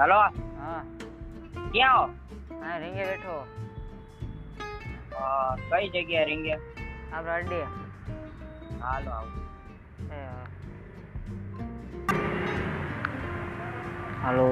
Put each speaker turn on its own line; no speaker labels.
hello
હા
ક્યાં
હા રીંગે બેઠો
હો અ, કઈ જગ્યાએ રીંગે
આપણે અડ્ડી
હાલો આવું
હાલો